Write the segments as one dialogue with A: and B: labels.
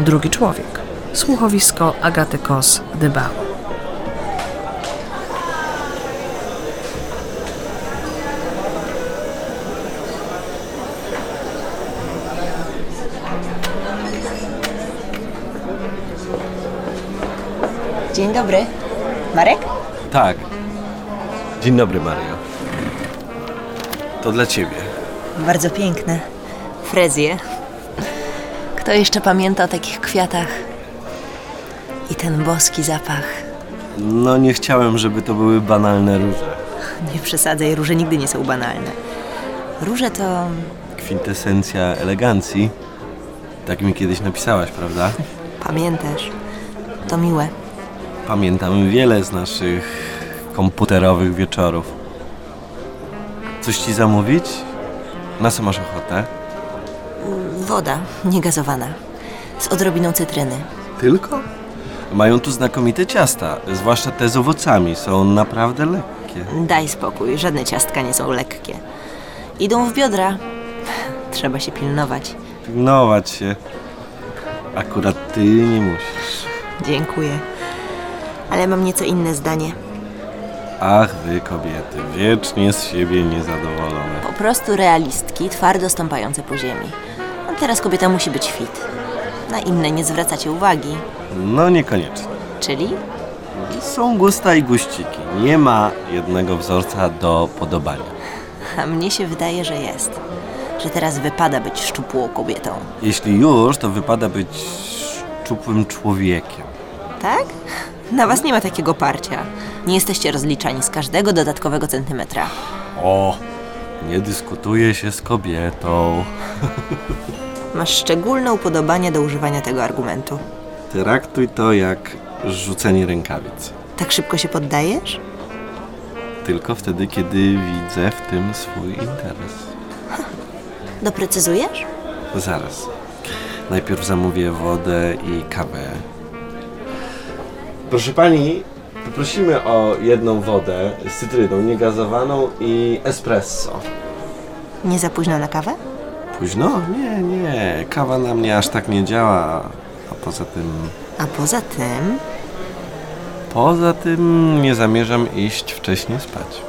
A: Drugi człowiek. Słuchowisko Agaty Kos Dybało.
B: Dzień dobry. Marek?
C: Tak. Dzień dobry, Mario. To dla ciebie.
B: Bardzo piękne. Frezje. Kto jeszcze pamięta o takich kwiatach? I ten boski zapach.
C: No nie chciałem, żeby to były banalne róże.
B: Nie przesadzaj, róże nigdy nie są banalne. Róże to...
C: Kwintesencja elegancji. Tak mi kiedyś napisałaś, prawda?
B: pamiętasz. To miłe.
C: Pamiętam wiele z naszych komputerowych wieczorów. Coś ci zamówić? Na co masz ochotę?
B: Woda, niegazowana. Z odrobiną cytryny.
C: Tylko? Mają tu znakomite ciasta, zwłaszcza te z owocami. Są naprawdę lekkie.
B: Daj spokój, żadne ciastka nie są lekkie. Idą w biodra. Trzeba się pilnować.
C: Pilnować się. Akurat ty nie musisz.
B: Dziękuję. Ale mam nieco inne zdanie.
C: Ach, wy kobiety, wiecznie z siebie niezadowolone.
B: Po prostu realistki, twardo stąpające po ziemi. A teraz kobieta musi być fit. Na inne nie zwracacie uwagi.
C: No niekoniecznie.
B: Czyli?
C: Są gusta i guściki. Nie ma jednego wzorca do podobania.
B: A mnie się wydaje, że jest. Że teraz wypada być szczupłą kobietą.
C: Jeśli już, to wypada być szczupłym człowiekiem.
B: Tak? Na was nie ma takiego parcia. Nie jesteście rozliczani z każdego dodatkowego centymetra.
C: O, nie dyskutuje się z kobietą.
B: Masz szczególne upodobanie do używania tego argumentu.
C: Traktuj to jak rzucenie rękawic.
B: Tak szybko się poddajesz?
C: Tylko wtedy, kiedy widzę w tym swój interes.
B: Doprecyzujesz?
C: Zaraz. Najpierw zamówię wodę i kawę. Proszę pani, poprosimy o jedną wodę z cytryną, niegazowaną i espresso.
B: Nie za późno na kawę?
C: Późno? Nie, nie. Kawa na mnie aż tak nie działa. A poza tym.
B: A poza tym,
C: Poza tym nie zamierzam iść wcześniej spać.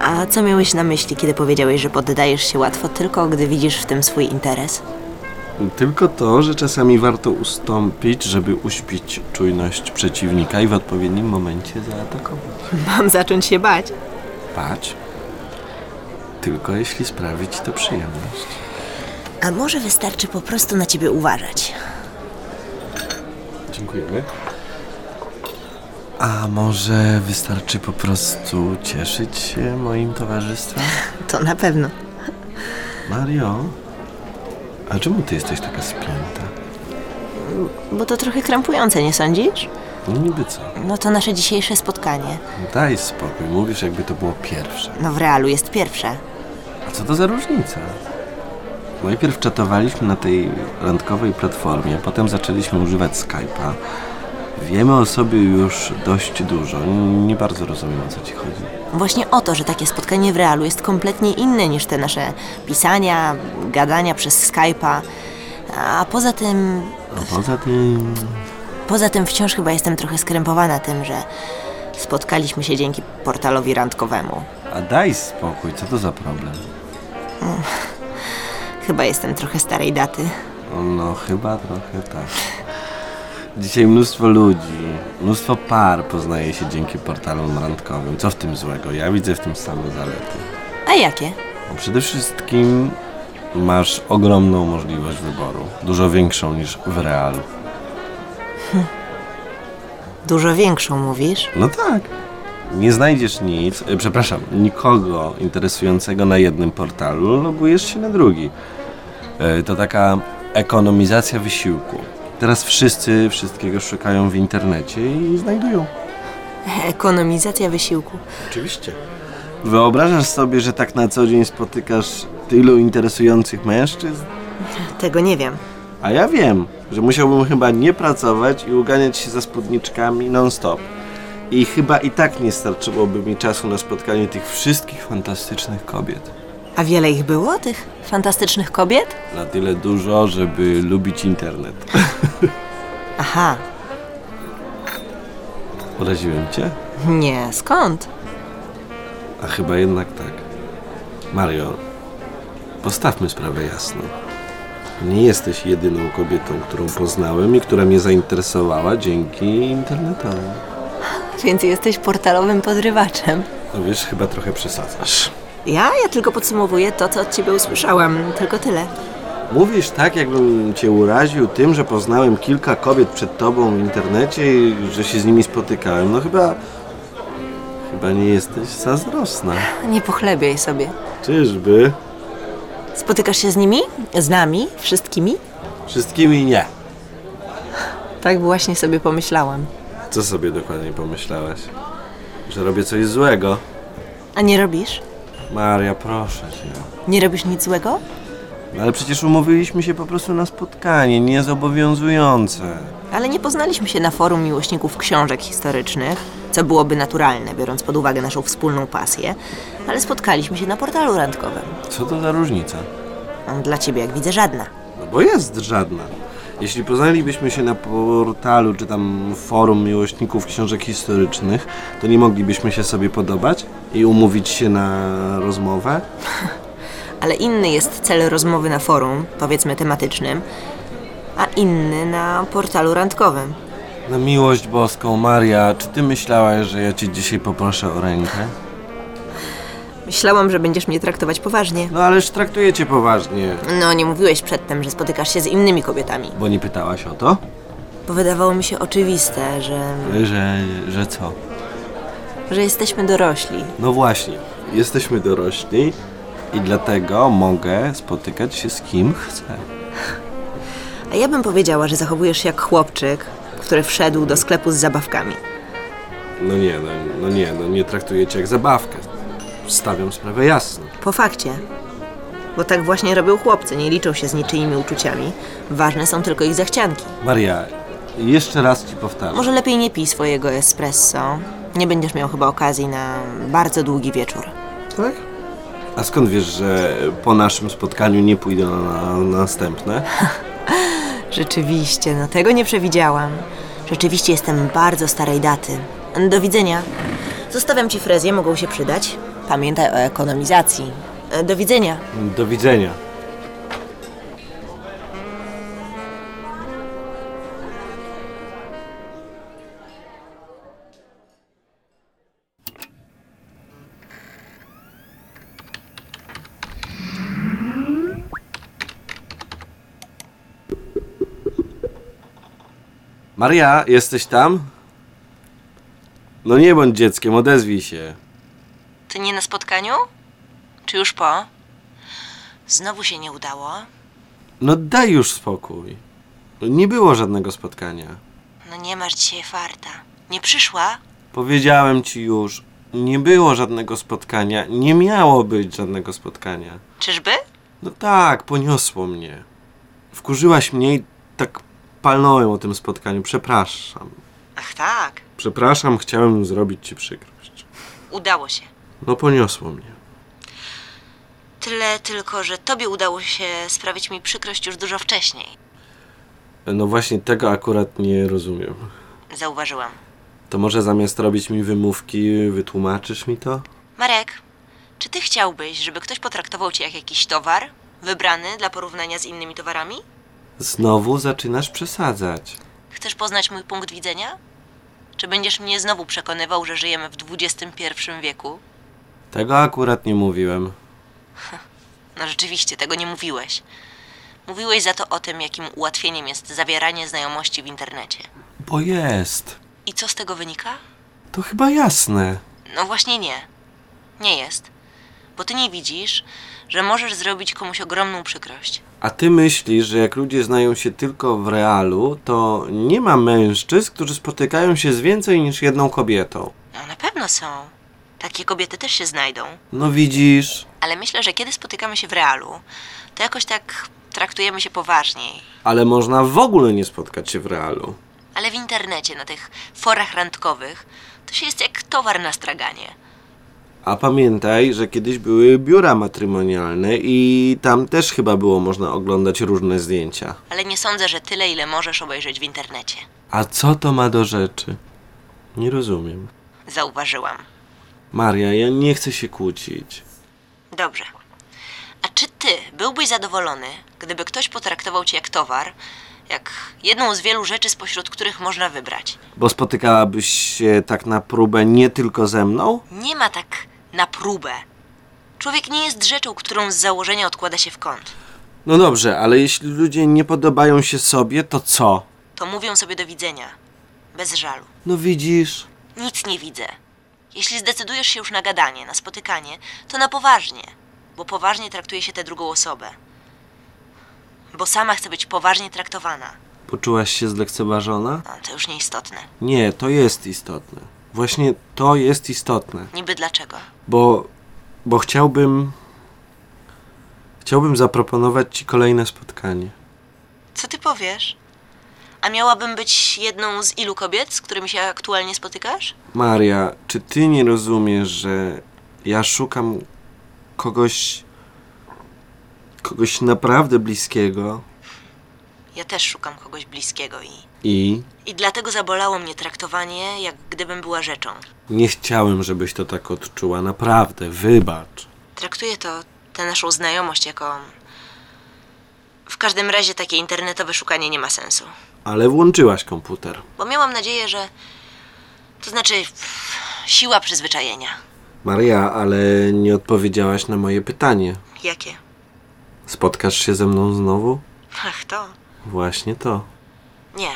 B: A co miałeś na myśli, kiedy powiedziałeś, że poddajesz się łatwo tylko, gdy widzisz w tym swój interes?
C: Tylko to, że czasami warto ustąpić, żeby uśpić czujność przeciwnika i w odpowiednim momencie zaatakować.
B: Mam zacząć się bać.
C: spać, tylko jeśli sprawi ci to przyjemność.
B: A może wystarczy po prostu na ciebie uważać?
C: Dziękujemy. A może wystarczy po prostu cieszyć się moim towarzystwem?
B: To na pewno.
C: Mario, a czemu ty jesteś taka spięta?
B: Bo to trochę krampujące, nie sądzisz?
C: Niby co?
B: No to nasze dzisiejsze spotkanie.
C: Daj spokój, mówisz jakby to było pierwsze.
B: No w realu jest pierwsze.
C: A co to za różnica? Najpierw czatowaliśmy na tej randkowej platformie, potem zaczęliśmy używać Skype'a. Wiemy o sobie już dość dużo. Nie bardzo rozumiem, o co ci chodzi.
B: Właśnie o to, że takie spotkanie w realu jest kompletnie inne niż te nasze pisania, gadania przez Skype'a. A poza tym,
C: A poza tym...
B: Poza tym wciąż chyba jestem trochę skrępowana tym, że spotkaliśmy się dzięki portalowi randkowemu.
C: A daj spokój, co to za problem?
B: Chyba jestem trochę starej daty.
C: No, chyba trochę tak. Dzisiaj mnóstwo ludzi, mnóstwo par poznaje się dzięki portalom randkowym. Co w tym złego? Ja widzę w tym same zalety.
B: A jakie?
C: No, Przede wszystkim masz ogromną możliwość wyboru. Dużo większą niż w realu.
B: Dużo większą mówisz?
C: No tak. Nie znajdziesz nic, e, przepraszam, nikogo interesującego na jednym portalu, logujesz się na drugi. E, To taka ekonomizacja wysiłku. Teraz wszyscy wszystkiego szukają w internecie i znajdują.
B: Ekonomizacja wysiłku.
C: Oczywiście. Wyobrażasz sobie, że tak na co dzień spotykasz tylu interesujących mężczyzn?
B: Tego nie wiem.
C: A ja wiem, że musiałbym chyba nie pracować i uganiać się za spódniczkami non-stop. I chyba i tak nie starczyłoby mi czasu na spotkanie tych wszystkich fantastycznych kobiet.
B: A wiele ich było, tych fantastycznych kobiet?
C: Na tyle dużo, żeby lubić internet.
B: Aha,
C: Uraziłem cię?
B: nie, skąd?
C: A chyba jednak tak. Mario, postawmy sprawę jasno. Nie jesteś jedyną kobietą, którą poznałem i która mnie zainteresowała dzięki internetowi.
B: Więc jesteś portalowym podrywaczem.
C: No wiesz, chyba trochę przesadzasz.
B: Ja? Ja tylko podsumowuję to, co od ciebie usłyszałam. Tylko tyle.
C: Mówisz tak, jakbym cię uraził tym, że poznałem kilka kobiet przed tobą w internecie i że się z nimi spotykałem. No chyba... Chyba nie jesteś zazdrosna.
B: Nie pochlebiaj sobie.
C: Czyżby?
B: Spotykasz się z nimi? Z nami? Wszystkimi?
C: Wszystkimi nie.
B: Tak właśnie sobie pomyślałam.
C: Co sobie dokładnie pomyślałaś? Że robię coś złego?
B: A nie robisz?
C: Maria, proszę cię.
B: Nie robisz nic złego?
C: No ale przecież umówiliśmy się po prostu na spotkanie, niezobowiązujące.
B: Ale nie poznaliśmy się na forum miłośników książek historycznych, co byłoby naturalne, biorąc pod uwagę naszą wspólną pasję, ale spotkaliśmy się na portalu randkowym.
C: Co to za różnica?
B: Dla ciebie, jak widzę, żadna.
C: No bo jest żadna. Jeśli poznalibyśmy się na portalu czy tam forum miłośników książek historycznych, to nie moglibyśmy się sobie podobać i umówić się na rozmowę?
B: Ale inny jest cel rozmowy na forum, powiedzmy tematycznym, a inny na portalu randkowym.
C: Na miłość boską, Maria, czy ty myślałaś, że ja cię dzisiaj poproszę o rękę?
B: Myślałam, że będziesz mnie traktować poważnie.
C: No ależ traktuję cię poważnie.
B: No, nie mówiłeś przedtem, że spotykasz się z innymi kobietami.
C: Bo nie pytałaś o to?
B: Bo wydawało mi się oczywiste, że,
C: Że, że co?
B: że jesteśmy dorośli.
C: No właśnie, jesteśmy dorośli i dlatego mogę spotykać się z kim chcę.
B: A ja bym powiedziała, że zachowujesz się jak chłopczyk, który wszedł do sklepu z zabawkami.
C: No nie, no, no nie, no nie traktuję cię jak zabawkę. Stawiam sprawę jasno.
B: Po fakcie. Bo tak właśnie robią chłopcy, nie liczą się z niczyimi uczuciami. Ważne są tylko ich zachcianki.
C: Maria, jeszcze raz ci powtarzam.
B: Może lepiej nie pij swojego espresso. Nie będziesz miał chyba okazji na bardzo długi wieczór.
C: Tak? A skąd wiesz, że po naszym spotkaniu nie pójdę na, na następne?
B: Rzeczywiście, no tego nie przewidziałam. Rzeczywiście jestem bardzo starej daty. Do widzenia. Zostawiam ci frezję, mogą się przydać. Pamiętaj o ekonomizacji. E, Do widzenia.
C: Do widzenia. Maria, jesteś tam? No nie bądź dzieckiem, odezwij się.
B: Ty nie na spotkaniu? Czy już po? Znowu się nie udało.
C: No daj już spokój. Nie było żadnego spotkania.
B: No nie masz dzisiaj farta. Nie przyszła?
C: Powiedziałem ci już, nie było żadnego spotkania, nie miało być żadnego spotkania.
B: Czyżby?
C: No tak, poniosło mnie. Wkurzyłaś mnie i tak palnąłem o tym spotkaniu. Przepraszam.
B: Ach tak,
C: Przepraszam, chciałem zrobić ci przykrość.
B: udało się.
C: No poniosło mnie.
B: Tyle tylko, że tobie udało się sprawić mi przykrość już dużo wcześniej.
C: No właśnie tego akurat nie rozumiem.
B: Zauważyłam.
C: To może zamiast robić mi wymówki, wytłumaczysz mi to?
B: Marek, czy ty chciałbyś, żeby ktoś potraktował cię jak jakiś towar? Wybrany dla porównania z innymi towarami?
C: Znowu zaczynasz przesadzać.
B: Chcesz poznać mój punkt widzenia? Czy będziesz mnie znowu przekonywał, że żyjemy w XXI wieku?
C: Tego akurat nie mówiłem.
B: No rzeczywiście, tego nie mówiłeś. Mówiłeś za to o tym, jakim ułatwieniem jest zawieranie znajomości w internecie.
C: Bo jest.
B: I co z tego wynika?
C: To chyba jasne.
B: No właśnie nie. Nie jest. Bo ty nie widzisz, że możesz zrobić komuś ogromną przykrość.
C: A ty myślisz, że jak ludzie znają się tylko w realu, to nie ma mężczyzn, którzy spotykają się z więcej niż jedną kobietą.
B: No na pewno są. Takie kobiety też się znajdą.
C: No widzisz,
B: Ale myślę, że kiedy spotykamy się w realu, to jakoś tak traktujemy się poważniej.
C: ale można w ogóle nie spotkać się w realu.
B: Ale w internecie, na tych forach randkowych, to się jest jak towar na straganie.
C: A pamiętaj, że kiedyś były biura matrymonialne i tam też chyba było można oglądać różne zdjęcia.
B: Ale nie sądzę, że tyle, ile możesz obejrzeć w internecie.
C: A co to ma do rzeczy? Nie rozumiem.
B: Zauważyłam.
C: Maria, ja nie chcę się kłócić.
B: Dobrze. A czy ty byłbyś zadowolony, gdyby ktoś potraktował cię jak towar, jak jedną z wielu rzeczy, spośród których można wybrać?
C: Bo spotykałabyś się tak na próbę nie tylko ze mną?
B: Nie ma tak na próbę. Człowiek nie jest rzeczą, którą z założenia odkłada się w kąt.
C: No dobrze, ale jeśli ludzie nie podobają się sobie, to co?
B: To mówią sobie do widzenia. Bez żalu.
C: No widzisz.
B: Nic nie widzę. Jeśli zdecydujesz się już na gadanie, na spotykanie, to na poważnie, bo poważnie traktuje się tę drugą osobę. Bo sama chce być poważnie traktowana.
C: Poczułaś się zlekceważona?
B: No, to już nieistotne.
C: Nie, to jest istotne. Właśnie to jest istotne.
B: Niby dlaczego?
C: Bo, bo chciałbym. Chciałbym zaproponować ci kolejne spotkanie.
B: Co ty powiesz? A miałabym być jedną z ilu kobiet, z którymi się aktualnie spotykasz?
C: Maria, czy ty nie rozumiesz, że ja szukam kogoś. kogoś naprawdę bliskiego
B: Ja też szukam kogoś bliskiego i.
C: i
B: I dlatego zabolało mnie traktowanie, jak gdybym była rzeczą.
C: nie chciałem, żebyś to tak odczuła. Naprawdę, wybacz.
B: Traktuję to, tę naszą znajomość, jako. W każdym razie takie internetowe szukanie nie ma sensu.
C: Ale włączyłaś komputer.
B: Bo miałam nadzieję, że. To znaczy. pff, siła przyzwyczajenia.
C: Maria, ale nie odpowiedziałaś na moje pytanie.
B: Jakie?
C: Spotkasz się ze mną znowu?
B: Ach, to.
C: Właśnie to.
B: Nie.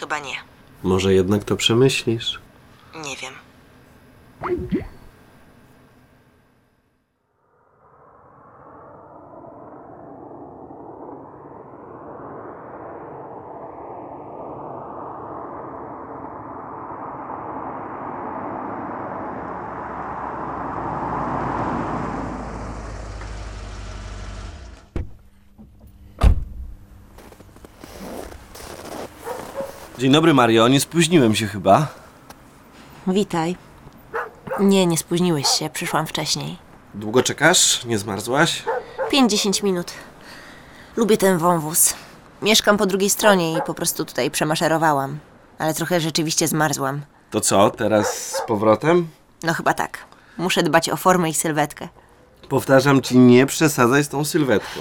B: Chyba nie.
C: Może jednak to przemyślisz.
B: Nie wiem.
C: Dzień dobry, Mario. Nie spóźniłem się chyba.
B: Witaj. Nie, nie spóźniłeś się, przyszłam wcześniej.
C: Długo czekasz? Nie zmarzłaś?
B: 5-10 minut. Lubię ten wąwóz. Mieszkam po drugiej stronie i po prostu tutaj przemaszerowałam. Ale trochę rzeczywiście zmarzłam.
C: To co, teraz z powrotem?
B: No chyba tak. Muszę dbać o formę i sylwetkę.
C: Powtarzam ci, nie przesadzaj z tą sylwetką.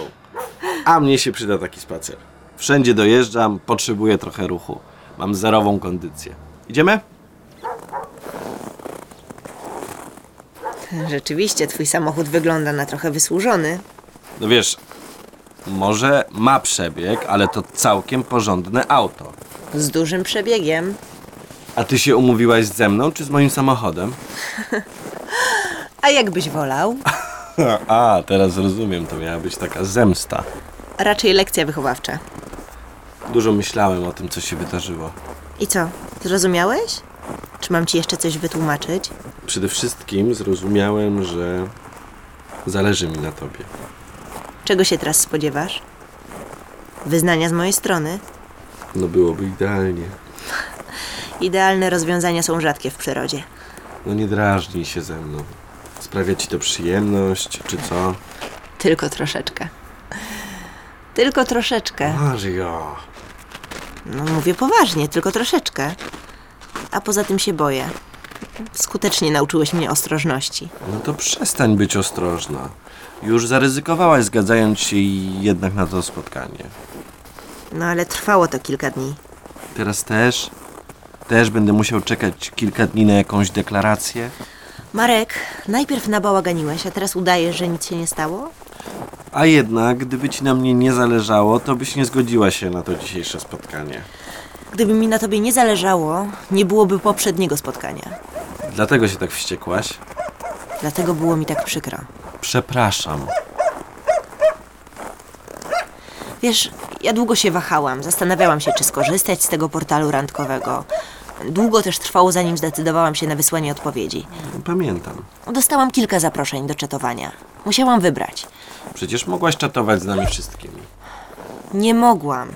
C: A mnie się przyda taki spacer. Wszędzie dojeżdżam, potrzebuję trochę ruchu. Mam zerową kondycję. Idziemy?
B: Rzeczywiście, twój samochód wygląda na trochę wysłużony.
C: No wiesz, może ma przebieg, ale to całkiem porządne auto.
B: Z dużym przebiegiem.
C: A ty się umówiłaś ze mną czy z moim samochodem?
B: A jakbyś wolał?
C: A, teraz rozumiem, to miała być taka zemsta.
B: Raczej lekcja wychowawcza.
C: Dużo myślałem o tym, co się wydarzyło.
B: I co? Zrozumiałeś? Czy mam ci jeszcze coś wytłumaczyć?
C: Przede wszystkim zrozumiałem, że zależy mi na tobie.
B: Czego się teraz spodziewasz? Wyznania z mojej strony?
C: No byłoby idealnie.
B: Idealne rozwiązania są rzadkie w przyrodzie.
C: No nie drażnij się ze mną. Sprawia ci to przyjemność, czy co?
B: Tylko troszeczkę. Tylko troszeczkę.
C: Mario!
B: No mówię poważnie, tylko troszeczkę. A poza tym się boję. Skutecznie nauczyłeś mnie ostrożności.
C: No to przestań być ostrożna. Już zaryzykowałaś, zgadzając się jednak na to spotkanie.
B: No ale trwało to kilka dni.
C: Teraz też? Też będę musiał czekać kilka dni na jakąś deklarację?
B: Marek, najpierw nabałaganiłeś, a teraz udajesz, że nic się nie stało?
C: A jednak, gdyby ci na mnie nie zależało, to byś nie zgodziła się na to dzisiejsze spotkanie.
B: Gdyby mi na tobie nie zależało, nie byłoby poprzedniego spotkania.
C: Dlatego się tak wściekłaś?
B: Dlatego było mi tak przykro.
C: Przepraszam.
B: Wiesz, ja długo się wahałam, zastanawiałam się, czy skorzystać z tego portalu randkowego. Długo też trwało, zanim zdecydowałam się na wysłanie odpowiedzi.
C: No, Pamiętam.
B: Dostałam kilka zaproszeń do czatowania. Musiałam wybrać.
C: Przecież mogłaś czatować z nami wszystkimi.
B: Nie mogłam.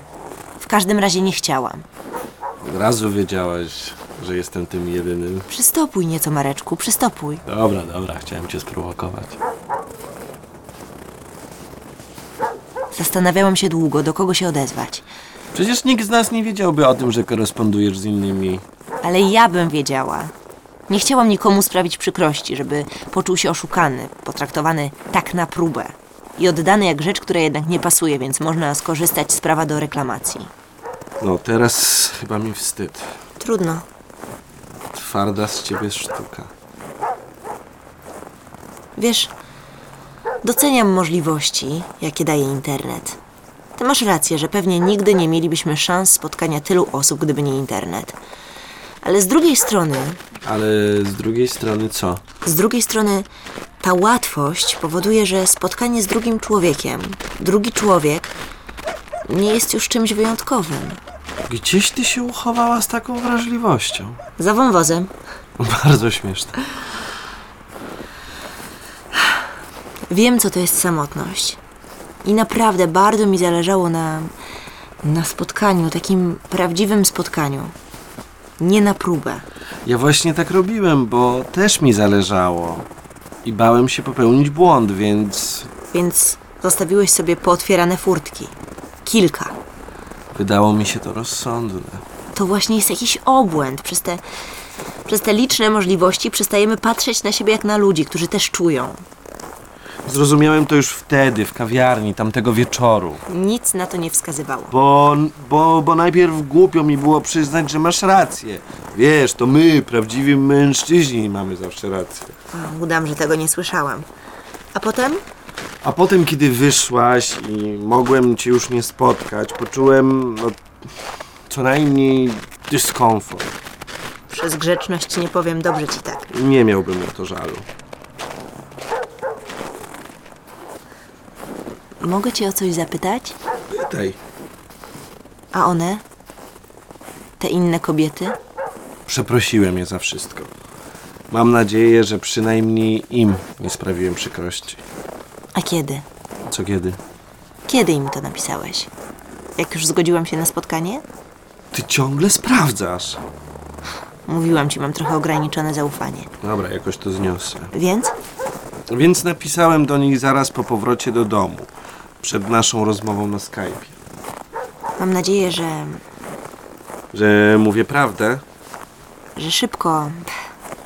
B: W każdym razie nie chciałam.
C: Od razu wiedziałaś, że jestem tym jedynym.
B: Przystopuj nieco, Mareczku, przystopuj.
C: Dobra, dobra, chciałem cię sprowokować.
B: Zastanawiałam się długo, do kogo się odezwać.
C: Przecież nikt z nas nie wiedziałby o tym, że korespondujesz z innymi.
B: Ale ja bym wiedziała. Nie chciałam nikomu sprawić przykrości, żeby poczuł się oszukany, potraktowany tak na próbę. I oddany jak rzecz, która jednak nie pasuje, więc można skorzystać z prawa do reklamacji.
C: No teraz chyba mi wstyd.
B: Trudno.
C: Twarda z ciebie sztuka.
B: Wiesz, doceniam możliwości, jakie daje internet. Ty masz rację, że pewnie nigdy nie mielibyśmy szans spotkania tylu osób, gdyby nie internet. Ale z drugiej strony,
C: Ale z drugiej strony co?
B: Z drugiej strony, ta łatwość powoduje, że spotkanie z drugim człowiekiem, drugi człowiek, nie jest już czymś wyjątkowym.
C: Gdzieś ty się uchowała z taką wrażliwością.
B: Za wąwozem.
C: Bardzo śmieszne.
B: Wiem, co to jest samotność. I naprawdę bardzo mi zależało na, na spotkaniu, takim prawdziwym spotkaniu. Nie na próbę.
C: Ja właśnie tak robiłem, bo też mi zależało. I bałem się popełnić błąd, więc
B: Więc zostawiłeś sobie pootwierane furtki. Kilka.
C: wydało mi się to rozsądne.
B: To właśnie jest jakiś obłęd. Przez te, przez te liczne możliwości przestajemy patrzeć na siebie jak na ludzi, którzy też czują.
C: Zrozumiałem to już wtedy, w kawiarni, tamtego wieczoru.
B: Nic na to nie wskazywało.
C: Bo, bo, bo najpierw głupio mi było przyznać, że masz rację. Wiesz, to my, prawdziwi mężczyźni, mamy zawsze rację.
B: O, udam, że tego nie słyszałam. A potem?
C: A potem, kiedy wyszłaś i mogłem cię już nie spotkać, poczułem no, co najmniej dyskomfort.
B: Przez grzeczność nie powiem dobrze ci tak.
C: Nie miałbym na to żalu.
B: Mogę cię o coś zapytać?
C: Pytaj.
B: A one? Te inne kobiety?
C: Przeprosiłem je za wszystko. Mam nadzieję, że przynajmniej im nie sprawiłem przykrości.
B: A kiedy?
C: Co kiedy?
B: Kiedy im to napisałeś? Jak już zgodziłam się na spotkanie?
C: Ty ciągle sprawdzasz.
B: Mówiłam ci, mam trochę ograniczone zaufanie.
C: Dobra, jakoś to zniosę.
B: Więc?
C: Więc napisałem do nich zaraz po powrocie do domu, przed naszą rozmową na Skype,
B: Mam nadzieję, że,
C: że mówię prawdę.
B: że szybko,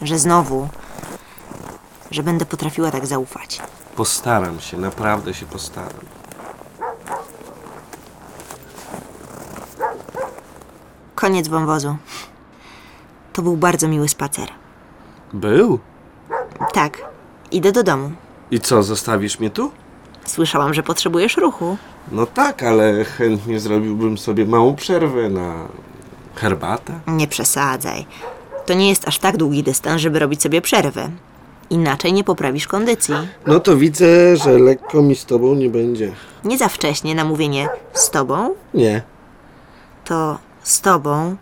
B: że znowu, że będę potrafiła tak zaufać.
C: Postaram się, naprawdę się postaram.
B: Koniec wąwozu. To był bardzo miły spacer.
C: Był?
B: Tak, idę do domu.
C: I co, zostawisz mnie tu?
B: Słyszałam, że potrzebujesz ruchu.
C: No tak, ale chętnie zrobiłbym sobie małą przerwę na herbatę.
B: Nie przesadzaj. To nie jest aż tak długi dystans, żeby robić sobie przerwy. Inaczej nie poprawisz kondycji.
C: No to widzę, że lekko mi z tobą nie będzie.
B: Nie za wcześnie na mówienie z tobą,
C: Nie.
B: to z tobą.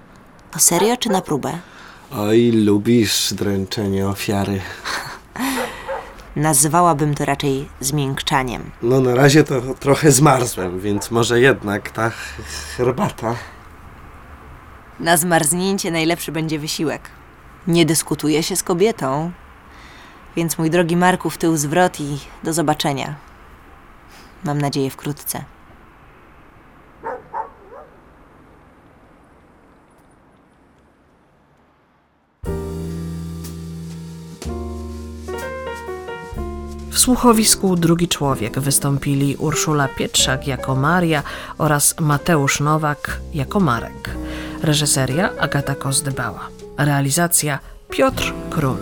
B: No serio czy na próbę?
C: Oj, lubisz dręczenie ofiary.
B: Nazwałabym to raczej zmiękczaniem.
C: No na razie to trochę zmarzłem, więc może jednak ta ch- herbata.
B: Na zmarznięcie najlepszy będzie wysiłek. Nie dyskutuje się z kobietą. Więc mój drogi Marku, w tył zwrot i do zobaczenia. Mam nadzieję wkrótce.
A: W słuchowisku drugi człowiek wystąpili Urszula Pietrzak jako Maria oraz Mateusz Nowak jako Marek. Reżyseria Agata Kozdybała. Realizacja Piotr Król.